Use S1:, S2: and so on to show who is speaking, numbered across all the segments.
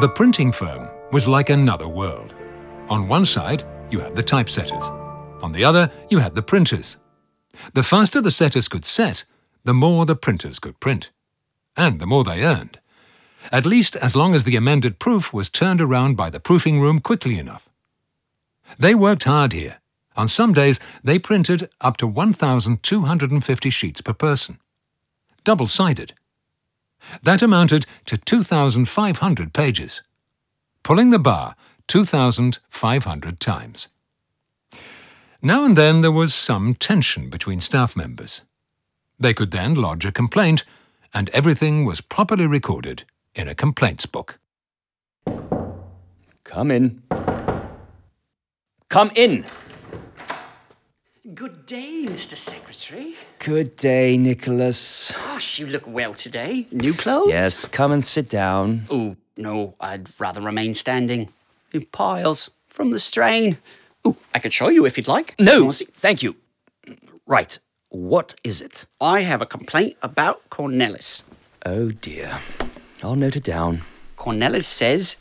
S1: The printing firm was like another world. On one side, you had the typesetters. On the other, you had the printers. The faster the setters could set, the more the printers could print. And the more they earned. At least as long as the amended proof was turned around by the proofing room quickly enough. They worked hard here. On some days, they printed up to 1,250 sheets per person. Double sided. That amounted to 2,500 pages. Pulling the bar 2,500 times. Now and then there was some tension between staff members. They could then lodge a complaint, and everything was properly recorded in a complaints book.
S2: Come in. Come in.
S3: Good day, Mr. Secretary.
S2: Good day, Nicholas.
S3: Gosh, you look well today. New clothes?
S2: Yes, come and sit down.
S3: Oh, no, I'd rather remain standing. In piles, from the strain. Oh, I could show you if you'd like.
S2: No,
S3: Wanna see?
S2: thank you. Right, what is it?
S3: I have a complaint about Cornelis.
S2: Oh dear. I'll note it down.
S3: Cornelis says,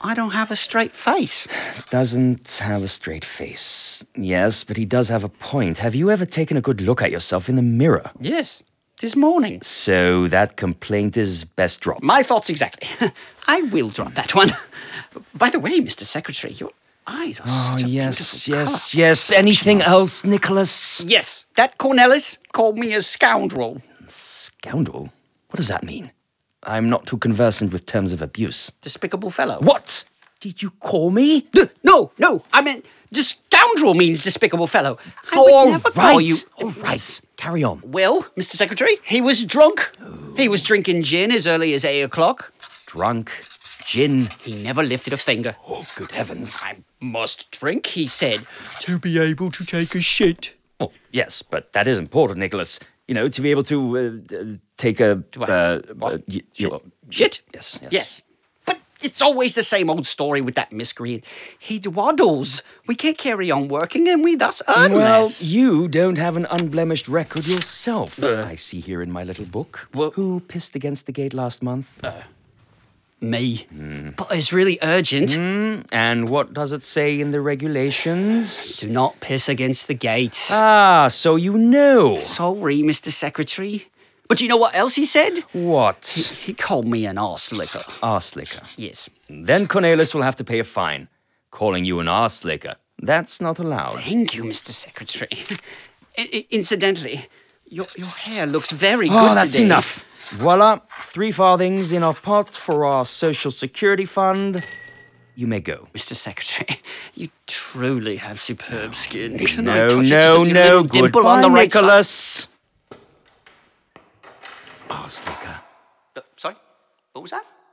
S3: I don't have a straight face.
S2: Doesn't have a straight face. Yes, but he does have a point. Have you ever taken a good look at yourself in the mirror?
S3: Yes, this morning.
S2: So that complaint is best dropped.
S3: My thoughts exactly. I will drop that one. By the way, Mr. Secretary, your eyes are
S2: Oh,
S3: such a
S2: yes,
S3: beautiful
S2: yes,
S3: colour.
S2: yes. Anything else, Nicholas?
S3: Yes, that Cornelis called me a scoundrel.
S2: Scoundrel? What does that mean? I'm not too conversant with terms of abuse.
S3: Despicable fellow.
S2: What? Did you call me?
S3: No, No, no, I meant dis- scoundrel means despicable fellow. I
S2: All
S3: would never call
S2: right,
S3: you.
S2: All right. Carry on.
S3: Well, Mr. Secretary, he was drunk. He was drinking gin as early as eight o'clock.
S2: Drunk. Gin.
S3: He never lifted a finger.
S2: Oh, good heavens.
S3: I must drink, he said.
S4: to be able to take a shit.
S2: Oh, yes, but that is important, Nicholas. You know, to be able to uh, d- take a.
S3: I-
S2: uh,
S3: what?
S2: uh, y- your-
S3: Shit?
S2: Yes, yes.
S3: Yes. But it's always the same old story with that miscreant. He dwaddles. We can't carry on working and we thus earn
S2: Well,
S3: less.
S2: you don't have an unblemished record yourself. I see here in my little book.
S3: Well-
S2: Who pissed against the gate last month?
S3: Me. But it's really urgent.
S2: Mm. and what does it say in the regulations?
S3: Do not piss against the gate.
S2: Ah, so you know.
S3: Sorry, Mr. Secretary. But you know what else he said?
S2: What?
S3: He called me an arse licker.
S2: Arslicker.
S3: Yes.
S2: Then Cornelis will have to pay a fine. Calling you an arslicker. That's not allowed.
S3: Thank you, Mr. Secretary. I- I- incidentally, your, your hair looks very good
S2: Oh, that's
S3: today.
S2: enough. Voila, three farthings in our pot for our social security fund. You may go.
S3: Mr. Secretary, you truly have superb skin. Can I
S2: No,
S3: touch it? Just a
S2: no,
S3: little
S2: no.
S3: dimple
S2: Goodbye,
S3: on the right
S2: Nicholas.
S3: side. Uh, sorry, what was that?